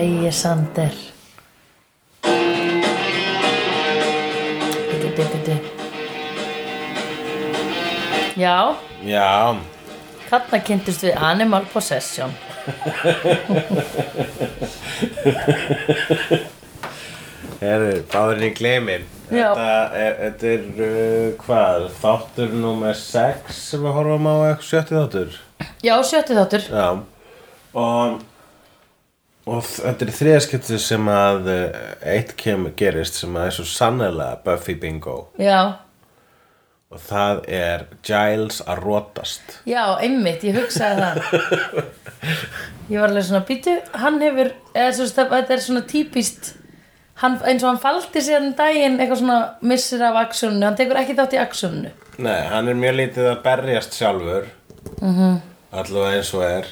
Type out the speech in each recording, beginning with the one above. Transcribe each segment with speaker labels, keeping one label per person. Speaker 1: Alexander Bitti, bitti, bitti Já,
Speaker 2: Já,
Speaker 1: þarna kynntist við Animal Possession
Speaker 2: herru, báðurinn í glemin
Speaker 1: Já.
Speaker 2: Þetta er, þetta er uh, hvað, þáttur númer 6 sem við horfum á eitthvað sjötti þáttur
Speaker 1: Já, sjötti þáttur
Speaker 2: Já Og, og þ- þetta er þriðaskipti sem að uh, eitt kem gerist sem að er svo sannlega Buffy Bingo
Speaker 1: Já,
Speaker 2: Og það er Giles að rótast
Speaker 1: já, einmitt, ég hugsaði það Ég var alveg svona, býtu, hann hefur eða, svo, þetta er svona típist hann, eins og hann faldi sér um daginn eitthvað svona missir af aksjónu hann tekur ekki þátt í aksjónu
Speaker 2: Nei, hann er mjög lítið að berjast sjálfur mm -hmm. Allavega eins og er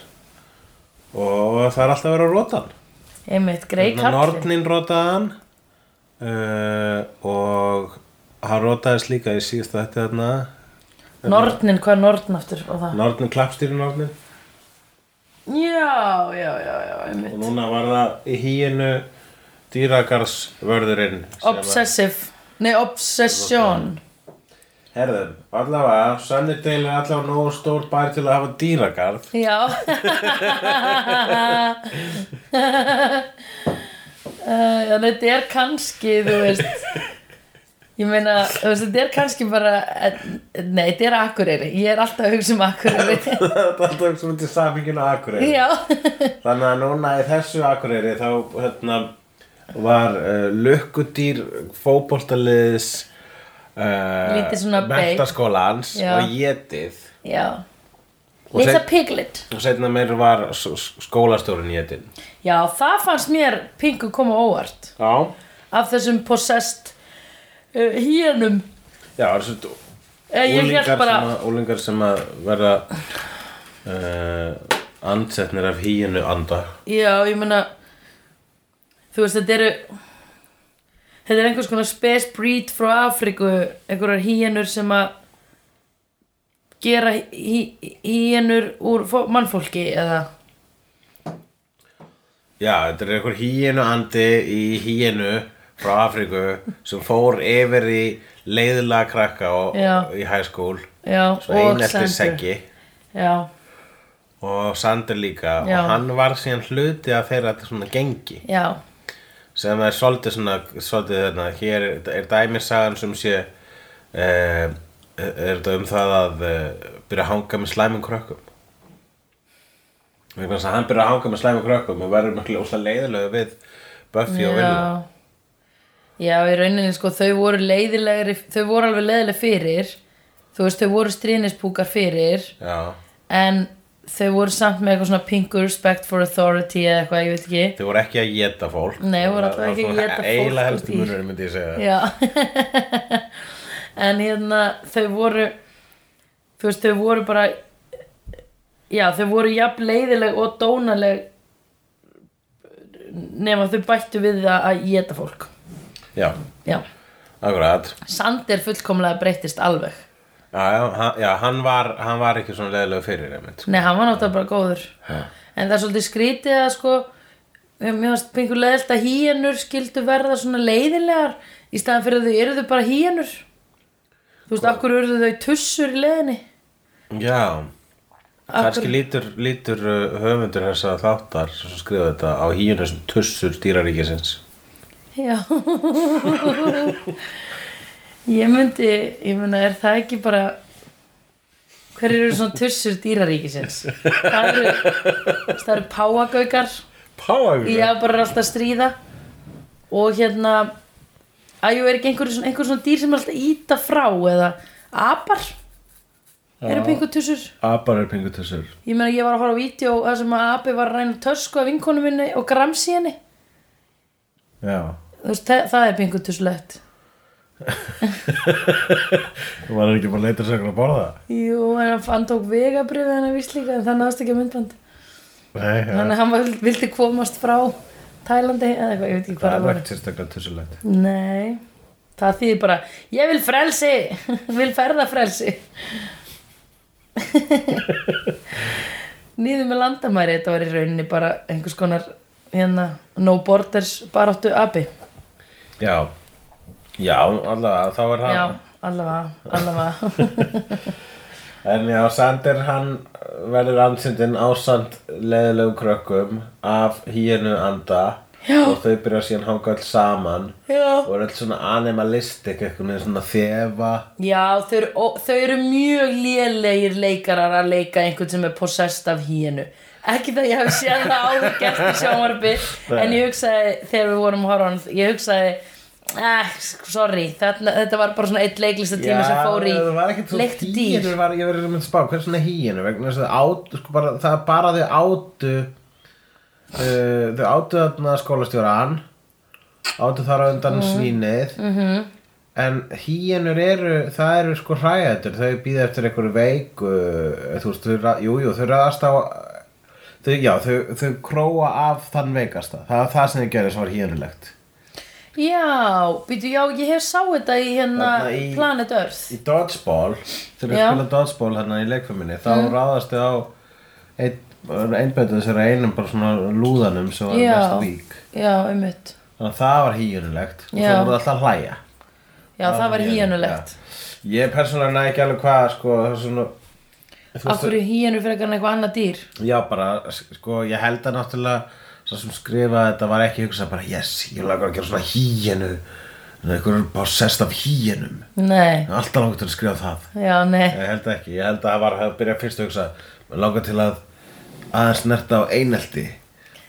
Speaker 2: Og það er alltaf að vera að róta hann
Speaker 1: Einmitt, grei
Speaker 2: Þannig að
Speaker 1: kallinn
Speaker 2: Nornin rótaði hann uh, og hann rótaðist líka í síðasta þetta þarna
Speaker 1: Nornin, hvað er norn aftur og það?
Speaker 2: Nornin klappstýri Nornin
Speaker 1: Já, já, já, já,
Speaker 2: og
Speaker 1: einmitt
Speaker 2: núna var það í híinu dýragarsvörðurinn sem að-
Speaker 1: Obsessive, nei, obsession
Speaker 2: Herðu, allavega, Sunnydale er allavega nógu stór bær til að hafa dýragarð
Speaker 1: Já Eh, Já, þetta er kannski, þú veist Ég meina, þú veist, þetta er kannski bara eh, Nei, þetta er Akureyri Ég er alltaf að hugsa um Akureyri
Speaker 2: Það er alltaf sem þetta er samingin á Akureyri
Speaker 1: Já,
Speaker 2: Þannig að núna í þessu akureyri þá hérna, var uh, lukkudýr fótboltaliðis uh,
Speaker 1: Lítið svona beit.
Speaker 2: mentaskólans
Speaker 1: Já.
Speaker 2: og getið
Speaker 1: já
Speaker 2: Og
Speaker 1: Little
Speaker 2: þeir-
Speaker 1: Piglet
Speaker 2: og setna meir var s- s- skólastjórinn getinn
Speaker 1: Já, það fannst mér pingu koma á óvart
Speaker 2: Já,
Speaker 1: af þessum possessed uh, hýjanum
Speaker 2: Já það er svo
Speaker 1: Eh, ég held
Speaker 2: úlingar,
Speaker 1: bara
Speaker 2: sem að, úlingar sem að verða uh, andsetnir af híinu anda
Speaker 1: já, ég meina þú veist, þetta eru þetta er einhvers konar space breed frá Afriku einhverjar hýjanur sem að gera hýjanur úr fó- mannfólki eða
Speaker 2: Já, þetta er einhver híinu andi í híinu frá Afríku sem fór yfir í leiðilega krakka og,
Speaker 1: Já.
Speaker 2: í high school
Speaker 1: já,
Speaker 2: svo einn
Speaker 1: og sendur
Speaker 2: eftir seggi
Speaker 1: já,
Speaker 2: og Sander líka
Speaker 1: Já.
Speaker 2: og hann var síðan hluti af þeirra þetta svona gengi
Speaker 1: já,
Speaker 2: sem er svolítið svona svolítið þarna, hér er, er dæmisagan sem sé eh, er þetta um það að eh, byrja að hanga með slæmum krökkum vegna þess að hann byrja að hanga með slæmum krökkum og verður mjög óslega leiðilegu við Buffy og Villa
Speaker 1: já já, í rauninni sko þau voru leiðilegri þau voru alveg leiðileg fyrir þú veist, þau voru stríðnispúkar fyrir
Speaker 2: Já,
Speaker 1: en þau voru samt með eitthvað svona pingu respect for authority eða eitthvað, ég veit ekki
Speaker 2: þau voru ekki að geta fólk
Speaker 1: Nei, voru allavega ekki að
Speaker 2: Það var
Speaker 1: éta
Speaker 2: svona
Speaker 1: fólk
Speaker 2: eiginlega
Speaker 1: og
Speaker 2: helstu
Speaker 1: dýr.
Speaker 2: munurinn myndi ég segja
Speaker 1: Já En hérna þau voru þú veist þau voru bara já þau voru jafn leiðileg og dónaleg nema þau bættu við það að geta fólk
Speaker 2: Já,
Speaker 1: Já,
Speaker 2: akkurat
Speaker 1: Sander fullkomlega breyttist alveg
Speaker 2: Já, já, hann, já hann, var, hann var ekki svona leðilegu fyrir einmitt.
Speaker 1: Nei, hann var náttúrulega bara góður
Speaker 2: Já.
Speaker 1: En það er svolítið skrítið að sko Mér varst pingur leðilt að hýjanur skildu verða svona leiðilegar Í staðan fyrir að þau eru þau bara hýjanur Þú veist, af hverju eru þau tussur í leiðinni?
Speaker 2: Já,
Speaker 1: Af
Speaker 2: kannski lítur, lítur uh, höfundur þessa þáttar sem skrifa þetta á híinu sem tussur dýraríkisins
Speaker 1: Já Ég myndi, ég myndi, er það ekki bara Hverju eru svona tussur dýraríkisins? Það eru, það eru páagaukar
Speaker 2: Páagur
Speaker 1: Já, bara alltaf að stríða Og hérna Æjú, er ekki einhver svona, einhver svona dýr sem er alltaf að íta frá Eða apar Eru pingutussur
Speaker 2: Abar er pingu tussur
Speaker 1: Ég meina, ég var að horfa á vídeo Það sem að api var að ræna tösku af vinkonu minni Og gramsi henni
Speaker 2: Já,
Speaker 1: Þú veist, það, það er pingutusslegt
Speaker 2: þú var ekki bara að leita sér að borða
Speaker 1: Jú, en hann- hann tók vegabrifið hennar víst líka En það náðast ekki að myndband
Speaker 2: Nei, ja.
Speaker 1: Þannig að hann var, vildi komast frá Tælandi eða eitthvað, ég veit ekki hvað það
Speaker 2: það er
Speaker 1: voru
Speaker 2: ekki sérstaklega tussulegt
Speaker 1: Nei, það þýðir bara Ég vil frelsi, vil ferða frelsi Nýðum með landamæri Þetta var í rauninni bara einhvers konar hérna No Borders baráttu abi
Speaker 2: Já, já, allavega, þá var hann
Speaker 1: Já, allavega, allavega
Speaker 2: En já, Sander hann verður ansindin ásand leðilegum krökkum af hínu anda
Speaker 1: Já.
Speaker 2: og þau byrja síðan að hanga öll saman og
Speaker 1: Já,
Speaker 2: er öll svona animalistik, eitthvað með svona þefa
Speaker 1: þau eru, ó, þau eru mjög lélegir leikarar að leika einhvern sem er possessed af hínu Ekki það ég hef séð það áður gert í sjónvarpi En ég hugsaði, þegar við vorum að horfa á hann Ég hugsaði, eh, sorry þetta, þetta var bara svona eitt leiklista tíma sem fór í
Speaker 2: það var ekkert svo
Speaker 1: leikti dýr
Speaker 2: hýinu, var, ég verður með spá, hver svona hýinu, vegna þess að át, sko, bara, það er bara þau átu, uh, þau átu þarna skólastjóran, átu þar á undan svínið,
Speaker 1: Mhm.
Speaker 2: en hýjenur eru, það eru sko hræðendur, þau býða eftir einhverju veiku, eh, þú veist, þau, ra- jú, jú, þau ræðast á, þau, já, þau, þau króa af þann veikasta, það var það sem þau gerði sem var hýjenulegt.
Speaker 1: Já, býtu, já, ég hef sá þetta í hérna
Speaker 2: Þarna í-
Speaker 1: Planet Earth
Speaker 2: í dodgeball
Speaker 1: Já.
Speaker 2: þegar
Speaker 1: Mm.
Speaker 2: ég spila dodgeball hérna í leikfeminni þá ráðast þið á einn einbætið þessara einum bara svona lúðanum sem var
Speaker 1: Já.
Speaker 2: mest vík
Speaker 1: Já, einmitt
Speaker 2: þannig að það var hýjunulegt og
Speaker 1: Já.
Speaker 2: það voru alltaf að hlæja
Speaker 1: Já, það var híjanulegt
Speaker 2: Já. ég persónulega næ ekki alveg hvað sko, það er svona þú
Speaker 1: Af hverju híjanur frekar en eitthvað annað dýr
Speaker 2: já bara sko ég held að náttúrulega svo sem skrifaði þetta var ekki hugsað bara yes ég lagar að gera svona hýjunu einhverjum er bara sest af hýjunum
Speaker 1: Nei,
Speaker 2: alltaf langt að skrifa það
Speaker 1: já, nei
Speaker 2: Ég held ekki, ég held að það var að byrja fyrst að hugsa Mér langar til að aðeins snerta á einelti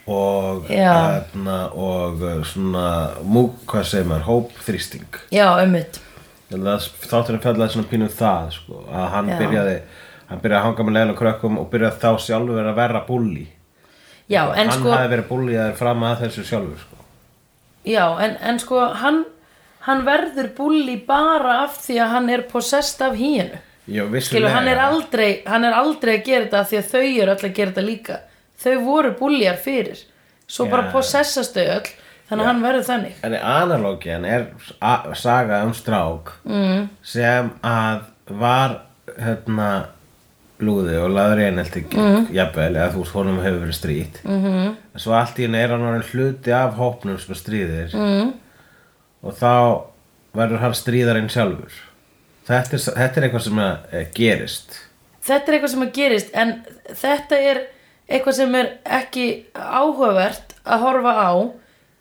Speaker 2: og,
Speaker 1: Já.
Speaker 2: hérna, og uh, svona múk, hvað segir maður, hópþrýsting
Speaker 1: Já, einmitt
Speaker 2: Ég held að þátturinn fjallaði svona pínum það sko, að hann
Speaker 1: Já.
Speaker 2: byrjaði hann byrjaði að hanga með leiðan og krökkum og byrjaði þá sjálfur að vera bulli
Speaker 1: Já, en
Speaker 2: hann
Speaker 1: sko,
Speaker 2: hafði verið bulliðar fram að þessu sjálfur sko.
Speaker 1: já, en, en sko hann, hann verður bulli bara af því að hann er possessed af híjanu
Speaker 2: Jó,
Speaker 1: Skilu, hann er,
Speaker 2: vissulega.
Speaker 1: aldrei, hann er aldrei að gera þetta af því að þau eru öll að gera þetta líka Þau voru bulliar fyrir Svo bara
Speaker 2: Já.
Speaker 1: possessast þau öll Þannig að hann verður þannig
Speaker 2: En analógian er a- saga um strák mm. sem að var hérna lúði og laður einelti mm. jafnvel, eða þú veist honum hefur verið strýtt mm -hmm. en svo allt í henni er hann orðinn hluti af hópnum sem er stríðir mm. og þá verður hann stríðarinn sjálfur þetta er, s- þetta er eitthvað sem að, eh, gerist
Speaker 1: þetta er eitthvað sem að gerist en þetta er eitthvað sem er ekki áhugavert að horfa á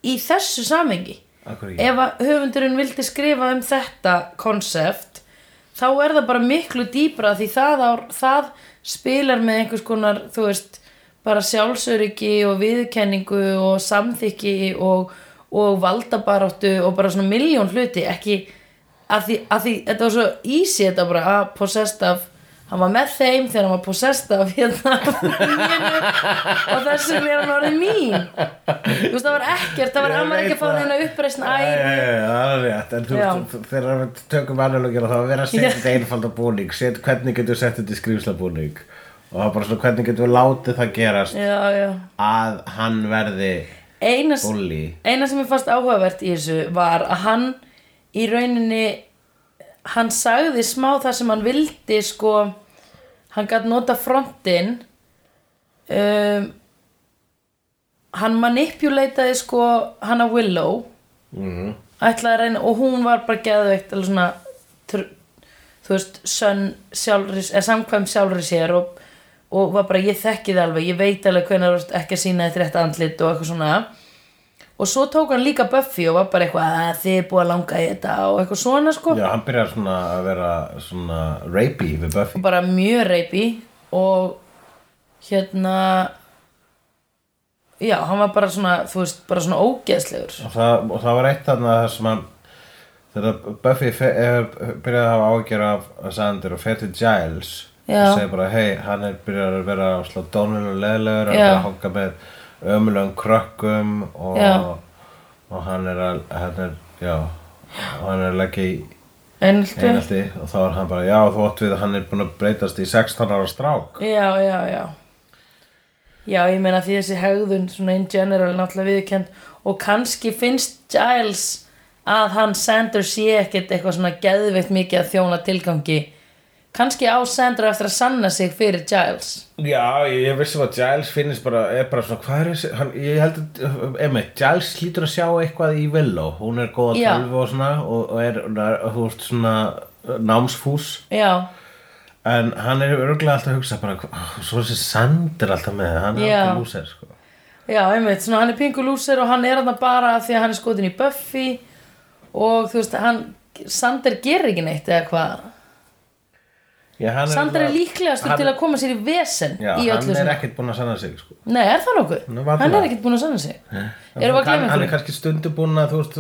Speaker 1: í þessu samengi
Speaker 2: Akkur ekki
Speaker 1: ef að höfundurinn vildi skrifa um þetta konsept þá er það bara miklu dýpra því það, á, það spilar með einhvers konar þú veist bara sjálfsöryggi og viðkenningu og samþykki og, og valdabaráttu og bara svona miljón hluti ekki að því, að því þetta var svo easy þetta bara að possessed af hann var með þeim þegar hann var possessed af hérna mínu, og þessu er hann orðið mín þú veist það var ekkert það var
Speaker 2: Ég
Speaker 1: hann var ekki að
Speaker 2: veit
Speaker 1: fá
Speaker 2: það.
Speaker 1: neina uppreisn
Speaker 2: Já,
Speaker 1: æru
Speaker 2: já, já, það er rétt, en þú
Speaker 1: Já.
Speaker 2: veist, þegar við tökum analógina þá er verið að setja þetta einfalda búning set, hvernig getur við sett þetta í skrýmsla búning og það er bara svona hvernig getur við látið það gerast
Speaker 1: já, já.
Speaker 2: að hann verði
Speaker 1: Eina,
Speaker 2: bulli
Speaker 1: eina sem ég fannst áhugavert í þessu var að hann í rauninni hann sagði smá það sem hann vildi sko, hann gætt nota frontin um, hann manipulataði sko hana Willow
Speaker 2: mm.
Speaker 1: ætlaði að reyna og hún var bara geðveikt alveg svona tr, þú veist, sönn sjálfri, eða samkvæm sjálfri sér og, og var bara ég þekki það alveg, ég veit alveg hvenær þú ert ekki að sína þitt rétt andlit og eitthvað svona og svo tók hann líka Buffy og var bara eitthvað að þið er búið að langa í þetta og eitthvað svona sko
Speaker 2: Já, hann byrjar svona að vera svona rapey við Buffy
Speaker 1: bara mjög reypi og hérna já, hann var bara svona þú veist, bara svona ógeðslegur
Speaker 2: og það, og það var eitt þarna þar sem hann þegar Buffy fe- eh, byrjaði að hafa ágjör af Sander og fer til Giles
Speaker 1: Já.
Speaker 2: og segir bara hei, hann er byrjar að vera slá dónul og leðlegur hann
Speaker 1: Já.
Speaker 2: er að hanga með ömulegum krökkum og,
Speaker 1: Já.
Speaker 2: og hann er að hann er, já, og hann er að leggja í
Speaker 1: einhaldi,
Speaker 2: einaldi og þá er hann bara, já þú átt við að hann er búin að breytast í 16 ára strák
Speaker 1: Já, já, já Já, ég meina því þessi hegðun svona in general er náttúrulega viðurkend og kannski finnst Giles að hann Sander sé ekkert eitthvað svona geðveikt mikið að þjóna tilgangi kannski á Sandra eftir að sanna sig fyrir Giles
Speaker 2: Já, ég, ég vissum að Giles finnist bara, er bara svona, hvað er þessi, hann, ég held að, einmitt, Giles hlýtur að sjá eitthvað í Willow, hún er góð að
Speaker 1: Já.
Speaker 2: tölvu og svona og, og er, hún er, þú veist, svona námsfús,
Speaker 1: já,
Speaker 2: en hann er örgulega alltaf að hugsa bara, "Hva- svo þessi Sander alltaf með, hann er
Speaker 1: Já.
Speaker 2: alltaf lúsir, sko.
Speaker 1: já, einmitt svona, hann er pingu lúsir og hann er hann bara af því að hann er skotin í Buffy og þú veist, hann Sander gerir ekki neitt eða hvað
Speaker 2: Já, hann
Speaker 1: Sander er
Speaker 2: náttúrulega-
Speaker 1: líklegastur
Speaker 2: hann-
Speaker 1: til að koma sér í vesen
Speaker 2: Já,
Speaker 1: í
Speaker 2: hann
Speaker 1: öllu
Speaker 2: er
Speaker 1: svona
Speaker 2: ekkert búinn að sanna sig, sko.
Speaker 1: Nei, er það nokkuð?
Speaker 2: Nú, varla.
Speaker 1: Hann er ekkert búinn að sanna sig Erum við að
Speaker 2: hann,
Speaker 1: glemja
Speaker 2: hann er
Speaker 1: einhverju?
Speaker 2: kannski stundu búinn að, þú veist,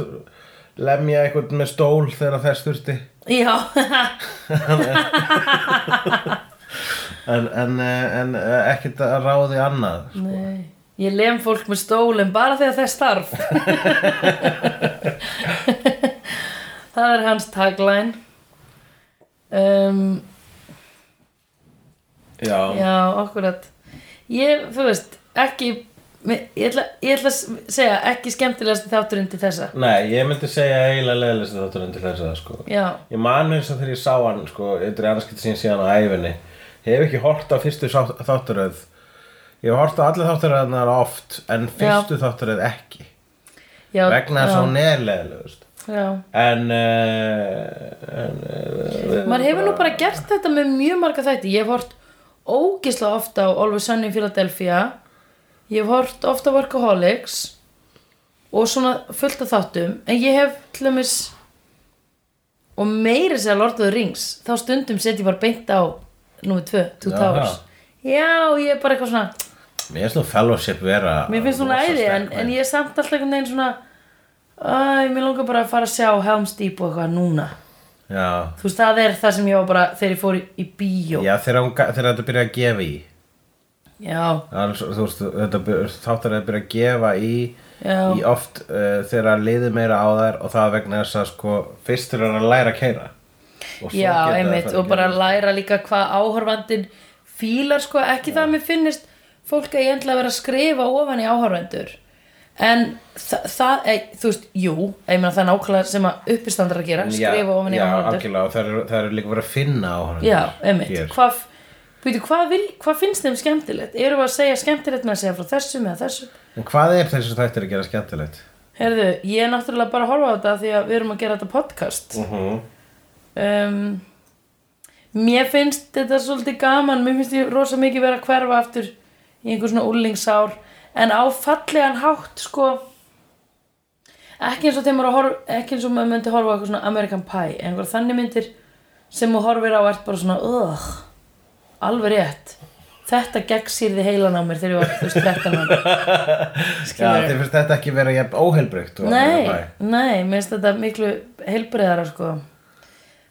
Speaker 2: lemja eitthvað með stól þegar þess þurfti.
Speaker 1: Já,
Speaker 2: En, en, eh, en eh, ekkert að ráði annað, sko.
Speaker 1: Nei. Ég lem fólk með stólinn bara þegar það er starf. það er hans tagline. Um, já, akkurat. Ég, þú veist, ekki, mér- ég ætla, ég ætla að segja ekki skemmtilegast þátturinn til þessa.
Speaker 2: Nei, ég myndi segja eiginlega leiðilegst þátturinn til þess að sko.
Speaker 1: Já,
Speaker 2: Ég man eins og þegar ég sá hann, sko, eitthvað annarskitt sín síðan á æfinni. Ég hef ekki hort á fyrstu sá- þáttaröð. Ég hef hort á allir þáttaröðnar oft, en fyrstu þáttaröð ekki.
Speaker 1: já.
Speaker 2: Vegna þess að hún
Speaker 1: já,
Speaker 2: er leiðilegust.
Speaker 1: já.
Speaker 2: En, uh, en uh,
Speaker 1: Maður hefur nú bara gert þetta með mjög marga þætti. Ég hef hort ógislega ofta á Always Sunny in Philadelphia. Ég hef hort ofta á Workaholics og svona fullt af þáttum. En ég hef til dæmis og meiri segja Lord of the Rings. Þá stundum set ég bara beint á númer 2, Two
Speaker 2: Jaha.
Speaker 1: Towers. Já, ég er bara eitthvað svona...
Speaker 2: Mér finnst nú fellowship vera...
Speaker 1: Mér finnst hún
Speaker 2: Ah, rosa
Speaker 1: æði en,
Speaker 2: sterk,
Speaker 1: en ég er samt alltaf einhvern veginn svona Æ, mér langar bara að fara að sjá Helm's Deep og eitthvað núna
Speaker 2: Já,
Speaker 1: Þú veist, það er það sem ég var bara þegar ég fór í, í bíó
Speaker 2: já þegar, hún, ga- þegar þetta byrja að gefa í.
Speaker 1: Já,
Speaker 2: Annars, þú veist, þetta þáttaröð byrja að gefa í...
Speaker 1: já,
Speaker 2: í oft uh, þegar að liði meira á þær og það er vegna þess að sko fyrst eru hann að læra að keira og svo
Speaker 1: já,
Speaker 2: geta þær
Speaker 1: einmitt
Speaker 2: farið
Speaker 1: og
Speaker 2: að
Speaker 1: bara
Speaker 2: gera-
Speaker 1: læra líka hvað áhorfandin fílar sko, ekki það að mér finnist fólk að ég endla vera að skrifa ofan í áhorfandur en þa það, e, þú veist, jú ég meina það er nákvæmlega sem að uppistandar að gera
Speaker 2: Já,
Speaker 1: skrifa ofan í
Speaker 2: já,
Speaker 1: áhorfandur
Speaker 2: algjörlega, og það eru, það eru líka verið að finna á hann
Speaker 1: Já, einmitt,
Speaker 2: hér.
Speaker 1: hvað Býtu, hvað, vil, hvað finnst þeim skemmtilegt? Eru við að segja skemmtilegt með að segja frá þessum eða þessum?
Speaker 2: en hvað er þessi þættir að gera skemmtilegt?
Speaker 1: Herðu, ég er náttúrulega bara að horfa á þetta því að við erum að gera þetta podcast.
Speaker 2: Uh -huh.
Speaker 1: um, mér finnst þetta svolítið gaman mér finnst ég rosa mikið vera að hverfa aftur í einhver svona úlingsár en á fallegan hátt sko ekki eins og þegar maður að horfa ekki eins og maður myndi horfa á eitthvað svona American Pie en einhver þannig myndir sem maður horfir á ert bara svona ögh, alveg rétt þetta gegg sýrði heilan á mér þegar ég var þú veist þetta mann
Speaker 2: já, þið finnst þetta ekki vera jafn óheilbrygt og
Speaker 1: Nei,
Speaker 2: American Pie.
Speaker 1: nei, mér finnst þetta miklu heilbreyðara sko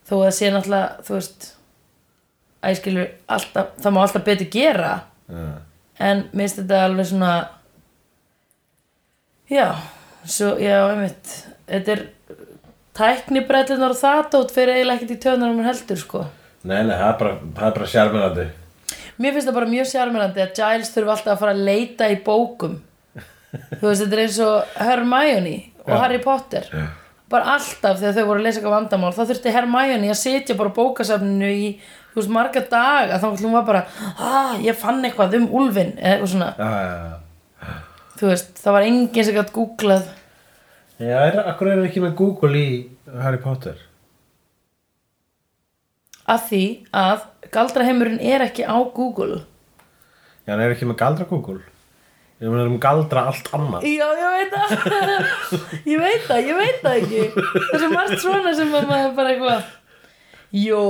Speaker 1: þó að sé náttúrulega, þú veist að ég skilur alltaf, það má alltaf betur gera
Speaker 2: Já.
Speaker 1: en mér finnst þetta alveg svona já svo, já, einmitt þetta er tæknibrellunar og það dót fyrir eiginlega ekkert í töðunar um heldur sko
Speaker 2: nei, nei, það er bara, það er bara sjármennandi
Speaker 1: Mér finnst það bara mjög sjármennandi að Giles þurfi alltaf að fara að leita í bókum Þú veist, þetta er eins og Hermione og
Speaker 2: Já.
Speaker 1: Harry Potter Bara alltaf þegar þau voru að lesa eitthvað vandamál þá þurfti Hermione að sitja bara á bókasafninu í, þú veist, marga daga þá hún var bara, ah, ég fann eitthvað um úlfin eða eitthvað svona,
Speaker 2: já, já, já
Speaker 1: þú veist, það var enginn sem gætt googlað
Speaker 2: Já, er, akkur erum við ekki með Google í Harry Potter?
Speaker 1: að því að galdraheimurinn er ekki á Google
Speaker 2: Já, hann er ekki með galdra Google. Ég meina, við erum galdra allt annað.
Speaker 1: Já, ég veit það Ég veit það, ég veit það ekki Það er svo margt svona sem að maður bara eitthvað Jó,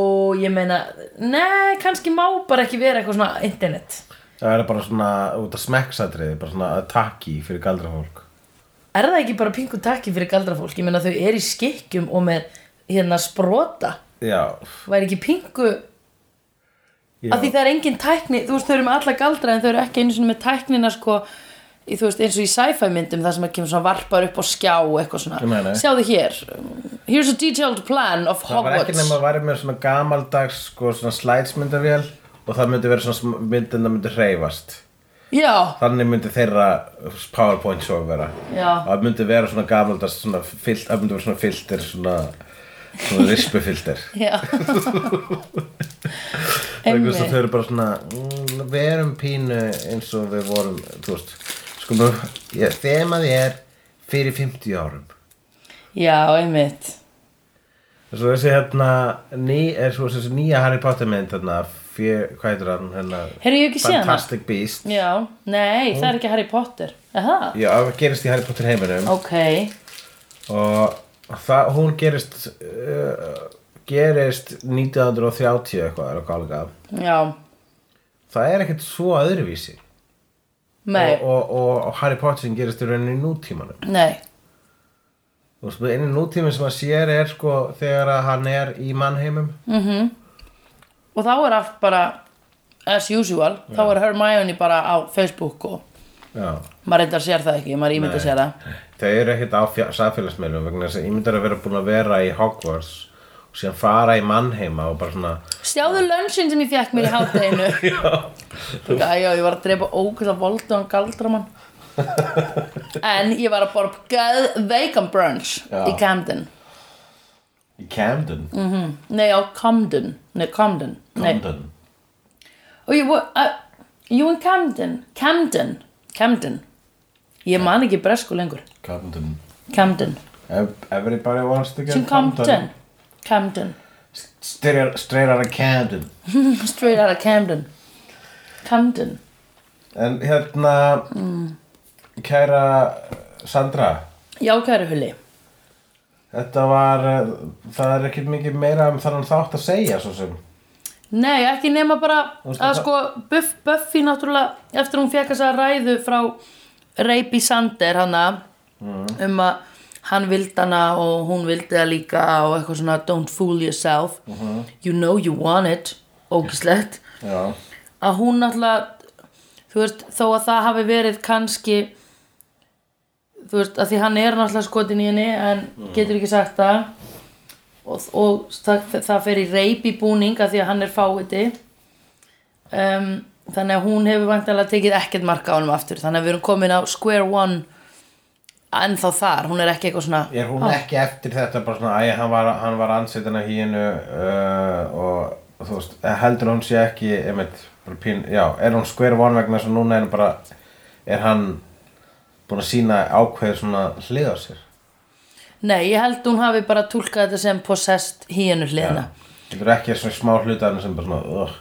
Speaker 1: ég meina Nei, kannski má bara ekki vera eitthvað svona internet
Speaker 2: Það er bara svona út af smekksatriði, bara svona attacki fyrir galdra fólk.
Speaker 1: Er það ekki bara pingu takki fyrir galdrafólk? Ég meina þau eru í skikkjum og með hérna sprota
Speaker 2: Já,
Speaker 1: Væri ekki pingu
Speaker 2: já.
Speaker 1: Af því það er engin tækni Þú veist, þau eru með alla galdra en þau eru ekki einu sinni með tæknina sko Í, þú veist, eins og í sci-fi myndum það sem að kemur svona varpar upp á skjá eitthvað svona,
Speaker 2: Nei, nei.
Speaker 1: sjáðu hér here's a detailed plan of
Speaker 2: það var
Speaker 1: Hogwarts
Speaker 2: ekki nema að væri með svona gamaldags, sko, svona slætsmyndavél og það myndi vera svona sm- myndin það myndi hreyfast.
Speaker 1: Já,
Speaker 2: Þannig myndi þeirra PowerPoint svo vera.
Speaker 1: Já.
Speaker 2: Það myndi vera svona gamaldags, svona fyllt, það myndi vera svona fylltir, svona, svona rispufylltir.
Speaker 1: já
Speaker 2: vegna þess að
Speaker 1: Einmitt.
Speaker 2: þau eru bara svona mm, við erum pínu eins og við vorum þú veist sko bara ég- þemaði er fyrir 50 árum
Speaker 1: já, einmitt
Speaker 2: svo þessi hérna ný, er svo þessi nýja Harry Potter mynd hérna fjö, hvað heitir hann hérna
Speaker 1: Heyrðu, ég hef ekki séð hana.
Speaker 2: Fantastic Beast
Speaker 1: já, nei, það er ekki Harry Potter er það?
Speaker 2: já, það gerist í Harry Potter heiminum
Speaker 1: ok,
Speaker 2: og það, hún gerist uh, gerist 1930 eitthvað er að gálega
Speaker 1: já,
Speaker 2: það er ekkert svo öðruvísi
Speaker 1: nei
Speaker 2: og, og, og, og Harry Potter sem gerist í rauninni í nútímanum
Speaker 1: nei,
Speaker 2: Þú veist, einu nútími sem að sér er sko þegar að hann er í mannheimum
Speaker 1: og þá er allt bara as usual, þá er Hermione bara á Facebook og
Speaker 2: Já.
Speaker 1: maður reyndar sér það ekki, maður ímynda sér það
Speaker 2: Þau eru ekkert á sæfélagsmeilum vegna þess að ímyndar að vera búin að vera í Hogwarts og síðan fara í mannheima og bara svona
Speaker 1: Sjáðu lönnsinn sem ég fekk mér í hátteginu Já Já, ég var að drepa ókvæða voldu hann galdramann En ég var að borða gæð vegan brunch
Speaker 2: Já.
Speaker 1: í Camden
Speaker 2: í Camden, mm,
Speaker 1: Nei, á Camden Nei, Camden Nei.
Speaker 2: Camden.
Speaker 1: Og ég var uh, You in Camden Camden Camden Ég man ekki bresku lengur
Speaker 2: Camden
Speaker 1: Camden
Speaker 2: Ev- Everybody wants to get
Speaker 1: Sem Camden Camden
Speaker 2: Straight, straight out of Camden
Speaker 1: Straight out of Camden Camden
Speaker 2: En hérna Kæra Sandra
Speaker 1: Já, kæru hulli
Speaker 2: Þetta var eh, Það er ekkert mikið meira um þannig þátt að segja svo sem
Speaker 1: Nei, ekki nema bara
Speaker 2: veist,
Speaker 1: að
Speaker 2: það-
Speaker 1: sko Buff, Buffy náttúrulega eftir hún fekk þessa ræðu frá Reipi Sander hana
Speaker 2: Mm.
Speaker 1: um að hann vildi hana og hún vildi það líka og eitthvað svona don't fool yourself
Speaker 2: Mhm.
Speaker 1: you know you want it ógislegt
Speaker 2: Já
Speaker 1: að hún náttúrulega þú veist, þó að það hafi verið kannski þú veist, að því hann er náttúrulega skotin í henni en
Speaker 2: Mm.
Speaker 1: getur ekki sagt það og, og það, það fer í reip í búning að því að hann er fáiði um, þannig að hún hefur vantanlega tekið ekkert marka á honum aftur þannig að við erum komin á square one en þá þar, hún er ekki eitthvað svona
Speaker 2: Er hún ekki eftir þetta bara svona Æ, hann var, hann var ansettin af hínu uh, Og þú veist eh, Heldur hún sé ekki einmitt, bara pín, Já, er hún square one vegna þess að núna er hún bara Er hann Búin að sína ákveður svona hlið á sér
Speaker 1: nei, ég held hún hafi bara túlkað þetta sem possessed hínu hliðina
Speaker 2: Þetta er ekki svona smá hlutarnir sem bara svona uh,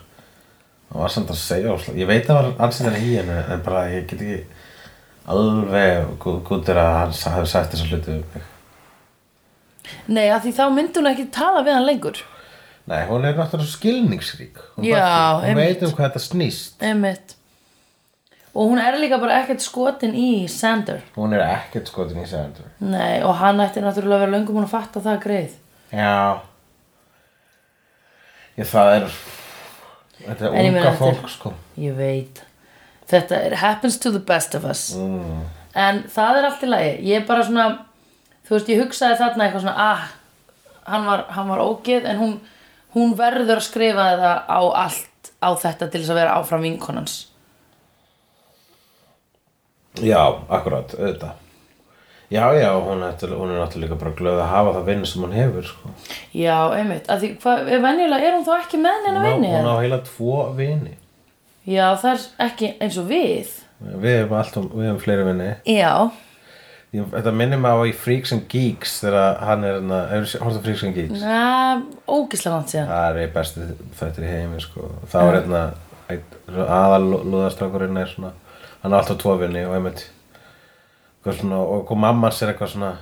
Speaker 2: Það var samt að segja ósla. Ég veit að það var ansettin í henni En bara ég get ekki Alveg gú- gútur að hann sa- hafi sagt þessa hluti um mig.
Speaker 1: nei, að því þá myndi hún ekki tala við hann lengur
Speaker 2: Nei, hún er náttúrulega svo skilningsrík Hún,
Speaker 1: Já,
Speaker 2: bara- hún
Speaker 1: einmitt.
Speaker 2: veit um hvað þetta snýst
Speaker 1: Einmitt. Og hún er líka bara ekkert skotin í Sander.
Speaker 2: Hún er ekkert skotin í Sander
Speaker 1: Nei, og hann ætti náttúrulega að vera löngum hún að fatta það greið.
Speaker 2: Já Ég það er Þetta er
Speaker 1: En ég meina,
Speaker 2: unga
Speaker 1: þetta er-
Speaker 2: fólk sko
Speaker 1: Ég veit. Þetta er, happens to the best of us.
Speaker 2: Mm.
Speaker 1: En það er allt í lagi. Ég er bara svona, þú veist, ég hugsaði þarna eitthvað svona, ah, hann var, hann var ógeð, en hún, hún verður að skrifa það á allt, á þetta til þess að vera áfram vinkonans.
Speaker 2: Já, akkurat, auðvitað Já, já, hún er, til- hún er náttúrulega líka bara glöð að hafa það vinnu sem hún hefur sko.
Speaker 1: Já, einmitt. Að því, hvað, venjulega er hún þá ekki með neina
Speaker 2: hún, á,
Speaker 1: vinni?
Speaker 2: hún á heila tvo vini
Speaker 1: Já, það er ekki eins og við.
Speaker 2: Við hefum alltaf, við hefum fleiri vini
Speaker 1: Já,
Speaker 2: Ég- Þetta minnir mig á í Freaks and Geeks þegar hann er, hérna- hefur horfðu Freaks and Geeks
Speaker 1: Na, ógislega langt síðan
Speaker 2: Það er einn besti þættir í heimi sko. þá er hérna aðalúðastrákurinn er svona hann er alltaf tvofinni og einmitt eitthvað svona, og hvað mamma hans er eitthvað svona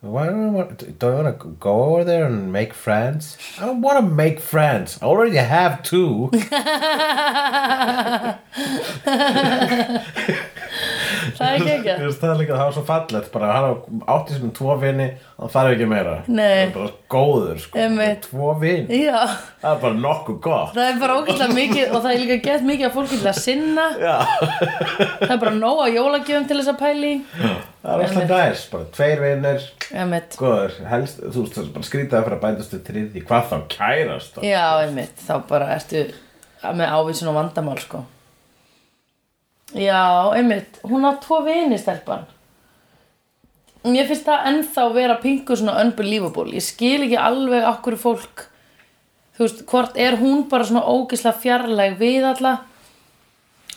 Speaker 2: Why don't you want, don't you want to go over there and make friends? I don't want to make friends. I already have two.
Speaker 1: Það er ekki
Speaker 2: Þú
Speaker 1: ekki
Speaker 2: veist, það er líka, það var svo fallegt bara, hann á- átti sem tvo vini hann þarf ekki meira.
Speaker 1: Nei.
Speaker 2: Hann er bara góður, sko.
Speaker 1: Einmitt.
Speaker 2: Tvo vini.
Speaker 1: Já,
Speaker 2: Það er bara nokkuð gott.
Speaker 1: það er bara ógislega mikið og það er líka gett mikið að fólki til að sinna
Speaker 2: Já.
Speaker 1: Það er bara nóg að jólagjöfum til þess að pæli
Speaker 2: Það er alltaf næs, bara tveir vinir,
Speaker 1: Einmitt
Speaker 2: Góður, Sko, helst, þú veist, það er bara skrýtaði fyrir að bætast við þriði, hvað þá kærast það?
Speaker 1: Já, einmitt, þá bara ertu með ávísun og vandamál sko Já, einmitt, hún á tvo vini stelpan Mér finnst það ennþá vera pingu svona unbelievable Ég skil ekki alveg okkur fólk Þú þú veist, hvort er hún bara svona ógislega fjarlæg við alla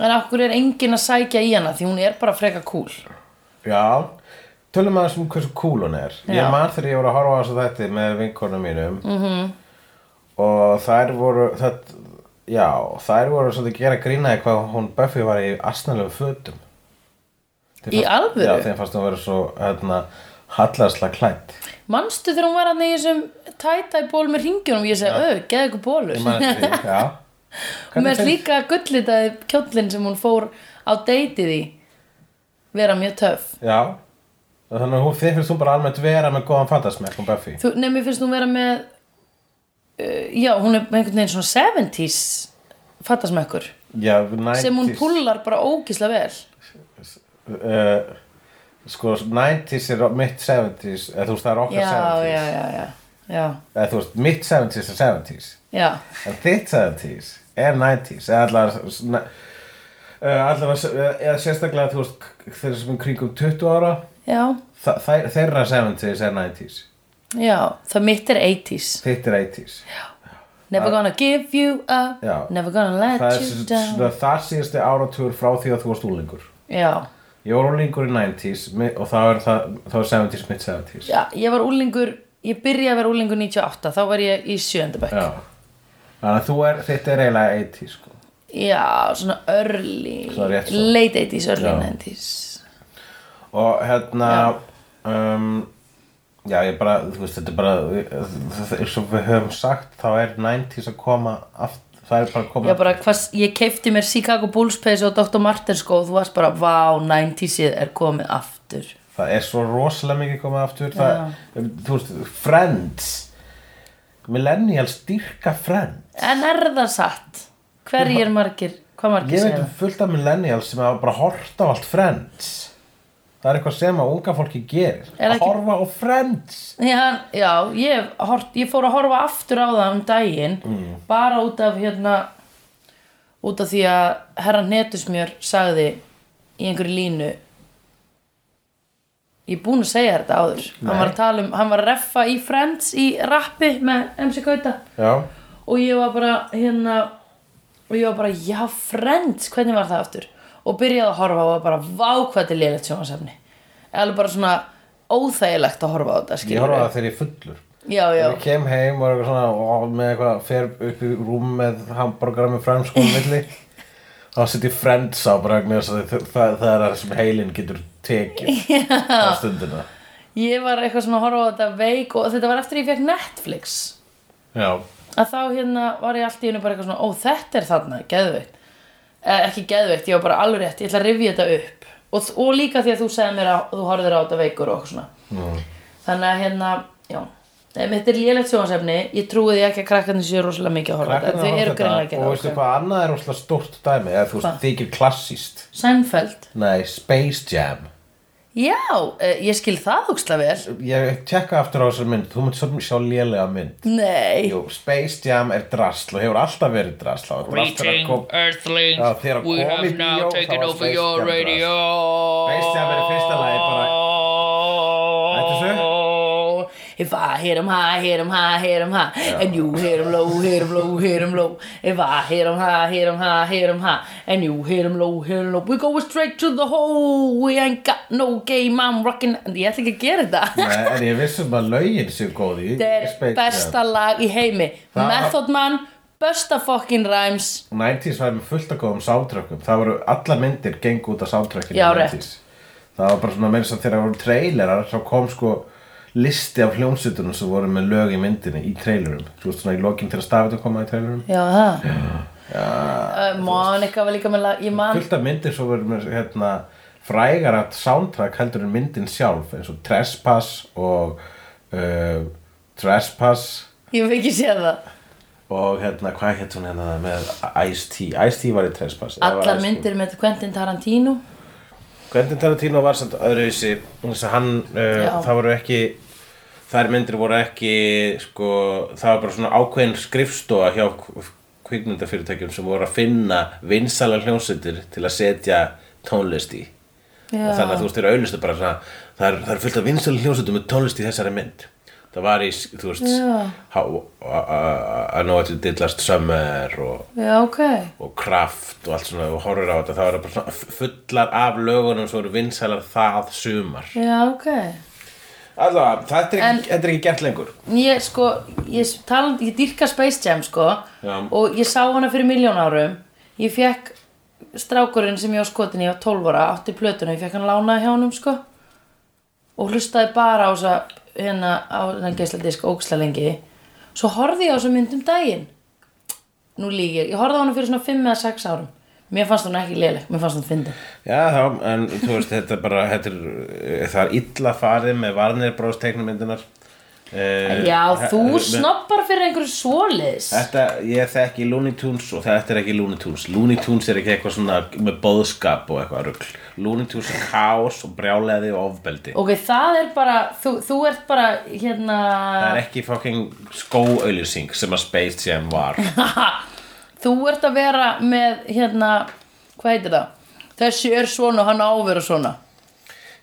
Speaker 1: en okkur er enginn að sækja í hana því hún er bara freka cool
Speaker 2: Já, tölum aðeins um hversu cool hún er.
Speaker 1: Já. Mhm.
Speaker 2: Ég man þegar ég voru að horfa á þessu þetta með vinkonum mínum -hmm. og þær voru, það, já, þær voru svolítið að gera grínaði hvað hún Buffy var í asnalegu fötum. Þeim
Speaker 1: Í alvöru?
Speaker 2: Já, þeim fannst hún vera svo, hérna, hallarsla klætt.
Speaker 1: manstu þegar hún var að neyja sem tæta í ból með ringjunum ég segi, öð, geða ykkur
Speaker 2: Ég
Speaker 1: bólur
Speaker 2: man eftir því, já.
Speaker 1: og mér
Speaker 2: Hvernig
Speaker 1: er líka gullitaði kjóllin sem hún fór á deytið í vera mjög töff
Speaker 2: Já, þannig að hún, þeim finnst hún bara almennt vera með góðan fatasmekk hún Buffy.
Speaker 1: þú, nei, mér finnst hún vera með uh, já, hún er með einhvern veginn svona 70s fattasmekkur
Speaker 2: Já, 90s.
Speaker 1: sem hún púlar bara ógislega vel
Speaker 2: uh, sko 90s er mitt 70s eða þú veist það er okkar
Speaker 1: já, já,
Speaker 2: 70s
Speaker 1: já, já, já,
Speaker 2: eða þú veist mitt 70s er 70s
Speaker 1: já
Speaker 2: en þitt 70s er 90s eða allar eh, allar eða sérstaklega þú veist þeir sem er kringum 20 ára
Speaker 1: já,
Speaker 2: þa- þær- þeirra 70s er 90s
Speaker 1: já, það mitt er 80s
Speaker 2: þitt er 80s
Speaker 1: never gonna give you up
Speaker 2: Já.
Speaker 1: never gonna let
Speaker 2: það er
Speaker 1: you
Speaker 2: s-
Speaker 1: down
Speaker 2: svona þar síðasti áratúr frá því að þú varst úlingur
Speaker 1: já,
Speaker 2: ég var úlingur í 90s mi- og þá er, það, þá er 70s mitt 70s
Speaker 1: já, ég var úlingur ég byrjaði að vera úlingur 98 þá var ég í sjöndabæk
Speaker 2: Já. þannig að þú er þitt er eiginlega 80s sko
Speaker 1: Já, svona early
Speaker 2: Svona rétt svo.
Speaker 1: Late 80s, early
Speaker 2: Já.
Speaker 1: 90s
Speaker 2: og hérna já. Um, já ég bara þú veist þetta er bara það- eins og við höfum sagt þá er 90s að koma aftur það er bara að koma
Speaker 1: Ég bara, hvað, ég keipti mér Chicago Bulls peysu og Dr. Martens sko og þú varst bara, vá, 90sið er komið aftur
Speaker 2: það er svo rosalega mikið komað aftur það, um, þú veist Friends millennials dyrka Friends
Speaker 1: En er það satt? Hverjir margir, hvað margir
Speaker 2: ég veit
Speaker 1: segja
Speaker 2: um
Speaker 1: það?
Speaker 2: fullt af millennials sem hafa bara hort á allt Friends það er eitthvað sem að unga fólki gerir
Speaker 1: Er
Speaker 2: að
Speaker 1: ekki-
Speaker 2: horfa á Friends
Speaker 1: Já, já ég, hef hort, ég fór að horfa aftur á það um daginn bara út af hérna út af því að herra Netusmjör sagði í einhverju línu ég er búin að segja þér þetta áður hann var, að tala um, hann var að reffa í Friends í rappi með MC Gauta
Speaker 2: já,
Speaker 1: og ég var bara hérna og ég var bara, já Friends, hvernig var það aftur og byrjaði að horfa og var bara vá hvað þetta er lélegt sjónasefni alveg bara svona óþægilegt að horfa á þetta
Speaker 2: ég
Speaker 1: skilurðu.
Speaker 2: horfa á það þegar ég er fullur
Speaker 1: já, já,
Speaker 2: Ég kem heim og er eitthvað svona og með eitthvað, fer upp í rúm með hambúrgara með friends sko á milli þá sitt ég friends á bara vegna þess að það, það, það er það sem heilin getur tekið á stundina
Speaker 1: ég var eitthvað svona að horfa á þetta veik og þetta var eftir ég fekk Netflix
Speaker 2: Já,
Speaker 1: að þá hérna var ég allt í hennu bara eitthvað svona ó þetta er þarna, geðveikt eh, ekki geðveikt, ég var bara alveg rétt, ég ætla að rifja þetta upp og, og líka því að þú segði mér að þú horfðir á þetta veikur og eitthvað svona þannig að hérna, já Nei, mitt er lélegt sjónasefni, ég trúi því ekki að krakkarnir séu rosalega mikið að horfa á þetta,
Speaker 2: krakkarnir
Speaker 1: þau
Speaker 2: horfa
Speaker 1: eru
Speaker 2: á
Speaker 1: greinlega að
Speaker 2: og
Speaker 1: gera
Speaker 2: veistu
Speaker 1: það, sko.
Speaker 2: hvað annað er rosalega stórt dæmi eða þú veist þykir klassíst
Speaker 1: ok. Seinfeld,
Speaker 2: Nei, Space Jam
Speaker 1: já, eh, ég skil það úksla vel,
Speaker 2: Ég tekka aftur á þessar mynd, þú munt svo sjá lélega mynd
Speaker 1: nei
Speaker 2: Jú, Space Jam er drasl og hefur alltaf verið drasl og þetta er alltaf að
Speaker 3: Greeting,
Speaker 2: koma
Speaker 3: Earthlings.
Speaker 2: Já, þegar að
Speaker 3: we
Speaker 2: koma í
Speaker 3: have now
Speaker 2: bíó, þá
Speaker 3: taken
Speaker 2: var
Speaker 3: over
Speaker 2: Space
Speaker 3: your
Speaker 2: Jam drasl.
Speaker 3: radio.
Speaker 2: Space Jam er í fyrsta lagi bara- Hættu
Speaker 1: If I hit 'em high, hit 'em high, hit 'em high And you hit 'em low, hit 'em low, hit 'em low If I hit 'em high, hit 'em high, hit 'em high And you hit 'em low, hit 'em low We go straight to the hole We ain't got no game, I'm rockin' Ég ætla ekki að gera þetta
Speaker 2: Nei, en ég vissum að lögin séu góð í
Speaker 1: Þetta
Speaker 2: Space
Speaker 1: er
Speaker 2: Jam.
Speaker 1: besta lag í heimi
Speaker 2: Það-
Speaker 1: Method Man, Busta fucking Rhymes
Speaker 2: 90s var með fullt að góðum sátrökkum það voru allar myndir gengu út af sátrökkinu
Speaker 1: Já,
Speaker 2: það var bara svona meira svo þegar það voru trailerar þá kom sko listi af hljómsutunum sem voru með lög í myndinni í trailerum þú veist svona í lokin til að stafið að koma í trailerum
Speaker 1: Já, það Uh, Monika var líka með lag Ég man
Speaker 2: fullt af myndir svo voru með hérna, frægar að soundtrack heldur en myndin sjálf eins og Trespass og uh, Trespass
Speaker 1: Ég hef ekki séð það
Speaker 2: og hérna hvað hétt hún hérna með Ice-T Ice-T var í Trespass eða var
Speaker 1: Allar
Speaker 2: Ice-T?
Speaker 1: myndir með Quentin Tarantino
Speaker 2: Quentin Tarantino var samt öðruvísi þess að hann, uh,
Speaker 1: Já.
Speaker 2: það voru ekki þær myndir voru ekki sko, það var bara svona ákveðin skrifstofa hjá k- kvikmyndafyrirtækjum sem voru að finna vinsala hljónsetir til að setja tónlist í
Speaker 1: Já.
Speaker 2: og þannig að þú veist, þeir auðlistu bara svona, það er, það er fullt af vinsala hljónsetum með tónlist í þessari mynd það var í, þú veist
Speaker 1: Já.
Speaker 2: how- a- a- a know what you did last summer og,
Speaker 1: já, ok
Speaker 2: og kraft og allt svona og horfir á þetta, þá er það bara svona f- fullar af lögunum svo eru vinsælar það sumar
Speaker 1: já, ok
Speaker 2: allavega, þetta er,
Speaker 1: En-
Speaker 2: ekki, þetta er ekki gert lengur
Speaker 1: Ég sko, ég, tala, um- ég dýrka Space Jam sko
Speaker 2: Já.
Speaker 1: og ég sá hana fyrir miljón árum ég fekk strákurinn sem ég á skotin ég var 12 ára, átti plötuna ég fekk hann lánaði hjá honum sko og hlustaði bara á þessa hérna á þennan geisladisk óksla lengi svo horfði ég á þessa mynd um daginn nú lík ég, ég horfði á hana fyrir svona 5 eða 6 árum mér fannst hún ekki léleg, mér fannst hún fyndi
Speaker 2: já, þá, en þú veist, þetta er bara þetta er, eh, það er illa farið með varnirbróðsteiknumyndunar eh,
Speaker 1: Já,
Speaker 2: he-
Speaker 1: þú
Speaker 2: með-
Speaker 1: snobbar fyrir einhverju svoleiðis
Speaker 2: Þetta, ég þekki Looney Tunes og þetta er ekki Looney Tunes Looney Tunes er ekki eitthvað svona með boðskap og eitthvað rugl Looney Tunes er kaos og brjáleði og ofbeldi
Speaker 1: Ok, það er bara, þú, þú ert bara, hérna,
Speaker 2: Það er ekki fucking skóauðlýsing sem að Space Jam var
Speaker 1: þú ert að vera með, hérna, hvað heitir það? Þessi er svona, hann á að vera svona.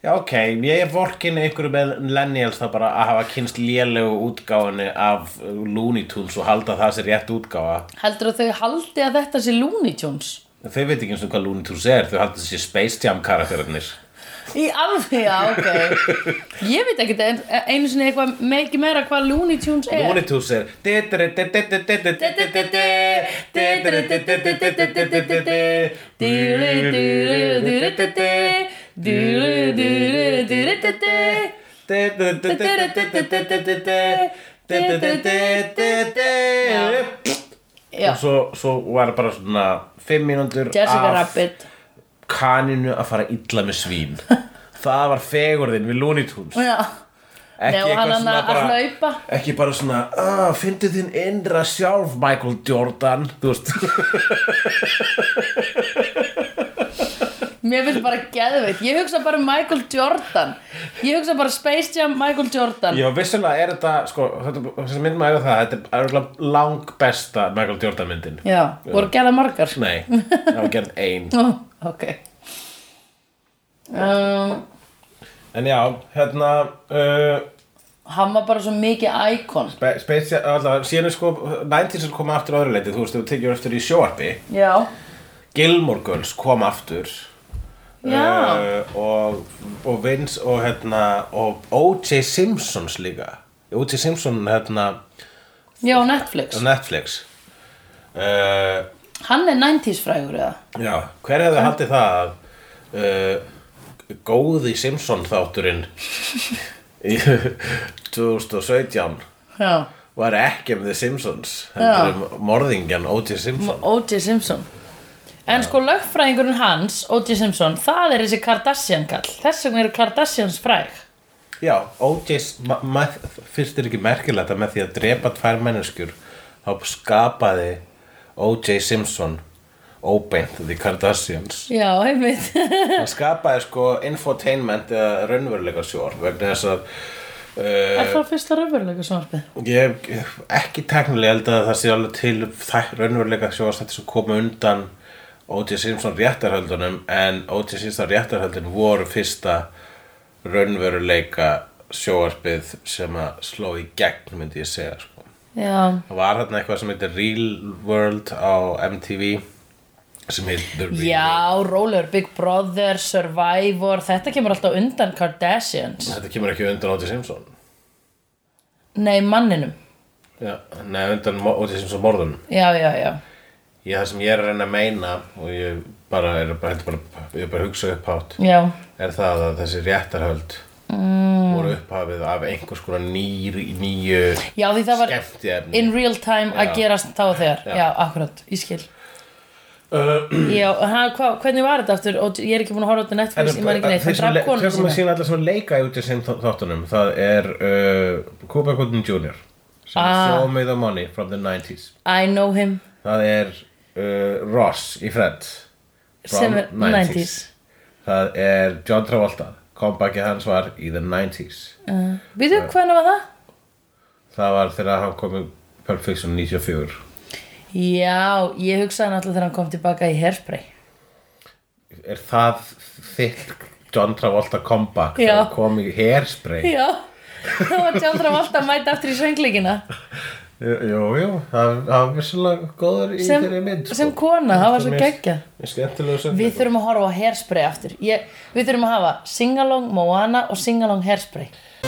Speaker 2: Já, ok, ég er vorkin einhverju með Lennials þá bara að hafa kynst lélegu útgáfunni af uh, Looney Tunes og halda að það sér rétt útgáfa
Speaker 1: Heldur þau haldi að þetta sé Looney Tunes?
Speaker 2: Þau veit ekki eins og hvað Looney Tunes er, þau halda að það sé Space Jam karakterinir
Speaker 1: Í alveg, já, ok. Ég veit ekki einu sinni eitthvað meiki meira hvað Looney Tunes er.
Speaker 2: Looney Tunes er
Speaker 1: Já,
Speaker 2: og svo, svo var bara svona fimm mínútur
Speaker 1: Jessica Rabbit.
Speaker 2: kaninu að fara illa með svín það var fegurðin við Looney Tunes
Speaker 1: Já. Nei, og hann hann að hlaupa.
Speaker 2: ekki bara svona "Ah, fyndið þinn innra sjálf Michael Jordan þú veist
Speaker 1: Mér finnst bara geðveitt Ég hugsa bara um Michael Jordan Ég hugsa bara Space Jam, Michael Jordan
Speaker 2: já vissulega er þetta sko þetta, þessi mynd maður það þetta er örugglega lang besta Michael Jordan myndin
Speaker 1: Já, voru gerða margar
Speaker 2: nei það var gerð ein
Speaker 1: Ó, Ok um,
Speaker 2: en já hérna uh,
Speaker 1: Hann var bara svo mikið íkon
Speaker 2: Spe- Space Jam alltaf síðan er sko 90s er koma aftur á öðru leiti þú veist þú tekjur eftir í sjóarpi
Speaker 1: Já,
Speaker 2: Gilmore Girls kom aftur
Speaker 1: já
Speaker 2: Eh, og, og Vince og hérna og O.J. Simpsons líka O.J. Simpson hérna
Speaker 1: Já, á Netflix
Speaker 2: á Netflix uh,
Speaker 1: Hann er 90s frægur eða
Speaker 2: já, hver hefði haldið það að uh, góði Simpson þátturinn í 2017
Speaker 1: Já
Speaker 2: var ekki um The Simpsons
Speaker 1: Já.
Speaker 2: heldur um morðingjan O.J. Simpson
Speaker 1: O.J. Simpson En sko lögfræðingurinn hans, O.J. Simpson Það er þessi Kardashian kall Þess vegna eru Kardashians fræg
Speaker 2: já, O.J. s- ma- ma- fyrst er ekki merkilegt að með því að drepa tvær menneskjur þá skapaði O.J. Simpson óbeint The Kardashians
Speaker 1: Já, einmitt
Speaker 2: hann skapaði sko infotainment eða raunveruleika sjór vegna þess að uh,
Speaker 1: Er það fyrsta raunveruleika sjónvarpið?
Speaker 2: ég hef ekki teknilega held að það sé alveg til þær raunveruleika sjóarstætti sem koma undan O.J. Simpson réttarhöldunum en O.J. Simpson réttarhöldun voru fyrsta raunveruleika sjóarpið sem að sló í gegn myndi ég segja sko.
Speaker 1: Já,
Speaker 2: það var þarna eitthvað sem heitir Real World á MTV sem heitir Real
Speaker 1: Já, Roller, Big Brother, Survivor Þetta kemur alltaf undan Kardashians
Speaker 2: þetta kemur ekki undan O.J. Simpson
Speaker 1: Nei, manninum
Speaker 2: Já, nei, undan Óti Simpson morðun
Speaker 1: Já, já, já
Speaker 2: Ég það sem ég er að reyna að meina og ég bara, er bara, heldur bara, ég er bara að hugsa upphátt
Speaker 1: Já,
Speaker 2: er það að þessi réttarhöld
Speaker 1: Mm.
Speaker 2: voru upphafið af einhvers konar nýr, nýju
Speaker 1: já því það var
Speaker 2: skemmtiefni
Speaker 1: in real time
Speaker 2: Já.
Speaker 1: að gerast þá og þegar Já,
Speaker 2: Já.
Speaker 1: akkurat, ég skil
Speaker 2: uh,
Speaker 1: Já, ha, hva, hvernig var þetta aftur? Og ég er ekki búin að horfa á þetta á Netflix, ég man ekki neitt Hann draf konum
Speaker 2: Tökum
Speaker 1: sína
Speaker 2: að sína allar sem leika út í sem þáttunum það er uh, Cooper Cotton Jr. sem
Speaker 1: Ah.
Speaker 2: ah. Show Me The Money from the 90s
Speaker 1: I know him
Speaker 2: það er uh, Ross í Friends
Speaker 1: Sem er 90s.
Speaker 2: það er John Travolta kompakið hans var í the 90s
Speaker 1: uh, Við þau, hvernig var það?
Speaker 2: það var þegar hann kom í Pulp Fiction 94
Speaker 1: Já, ég hugsaði náttúrulega þegar hann kom tilbaka í Hairspray
Speaker 2: er það þitt John Travolta kompakt
Speaker 1: Já.
Speaker 2: kom í hairspray
Speaker 1: Já, þá var tjaldra valda að mæta aftur í söngleikina
Speaker 2: Jú, jú, það það var vissulega góður í
Speaker 1: sem,
Speaker 2: þeirri mynd sko.
Speaker 1: sem kona, það var svo geggja
Speaker 2: Mér skemmtilegu sem
Speaker 1: Við þurfum að horfa á hairspray aftur ég, Við þurfum að hafa singalong Moana og singalong hairspray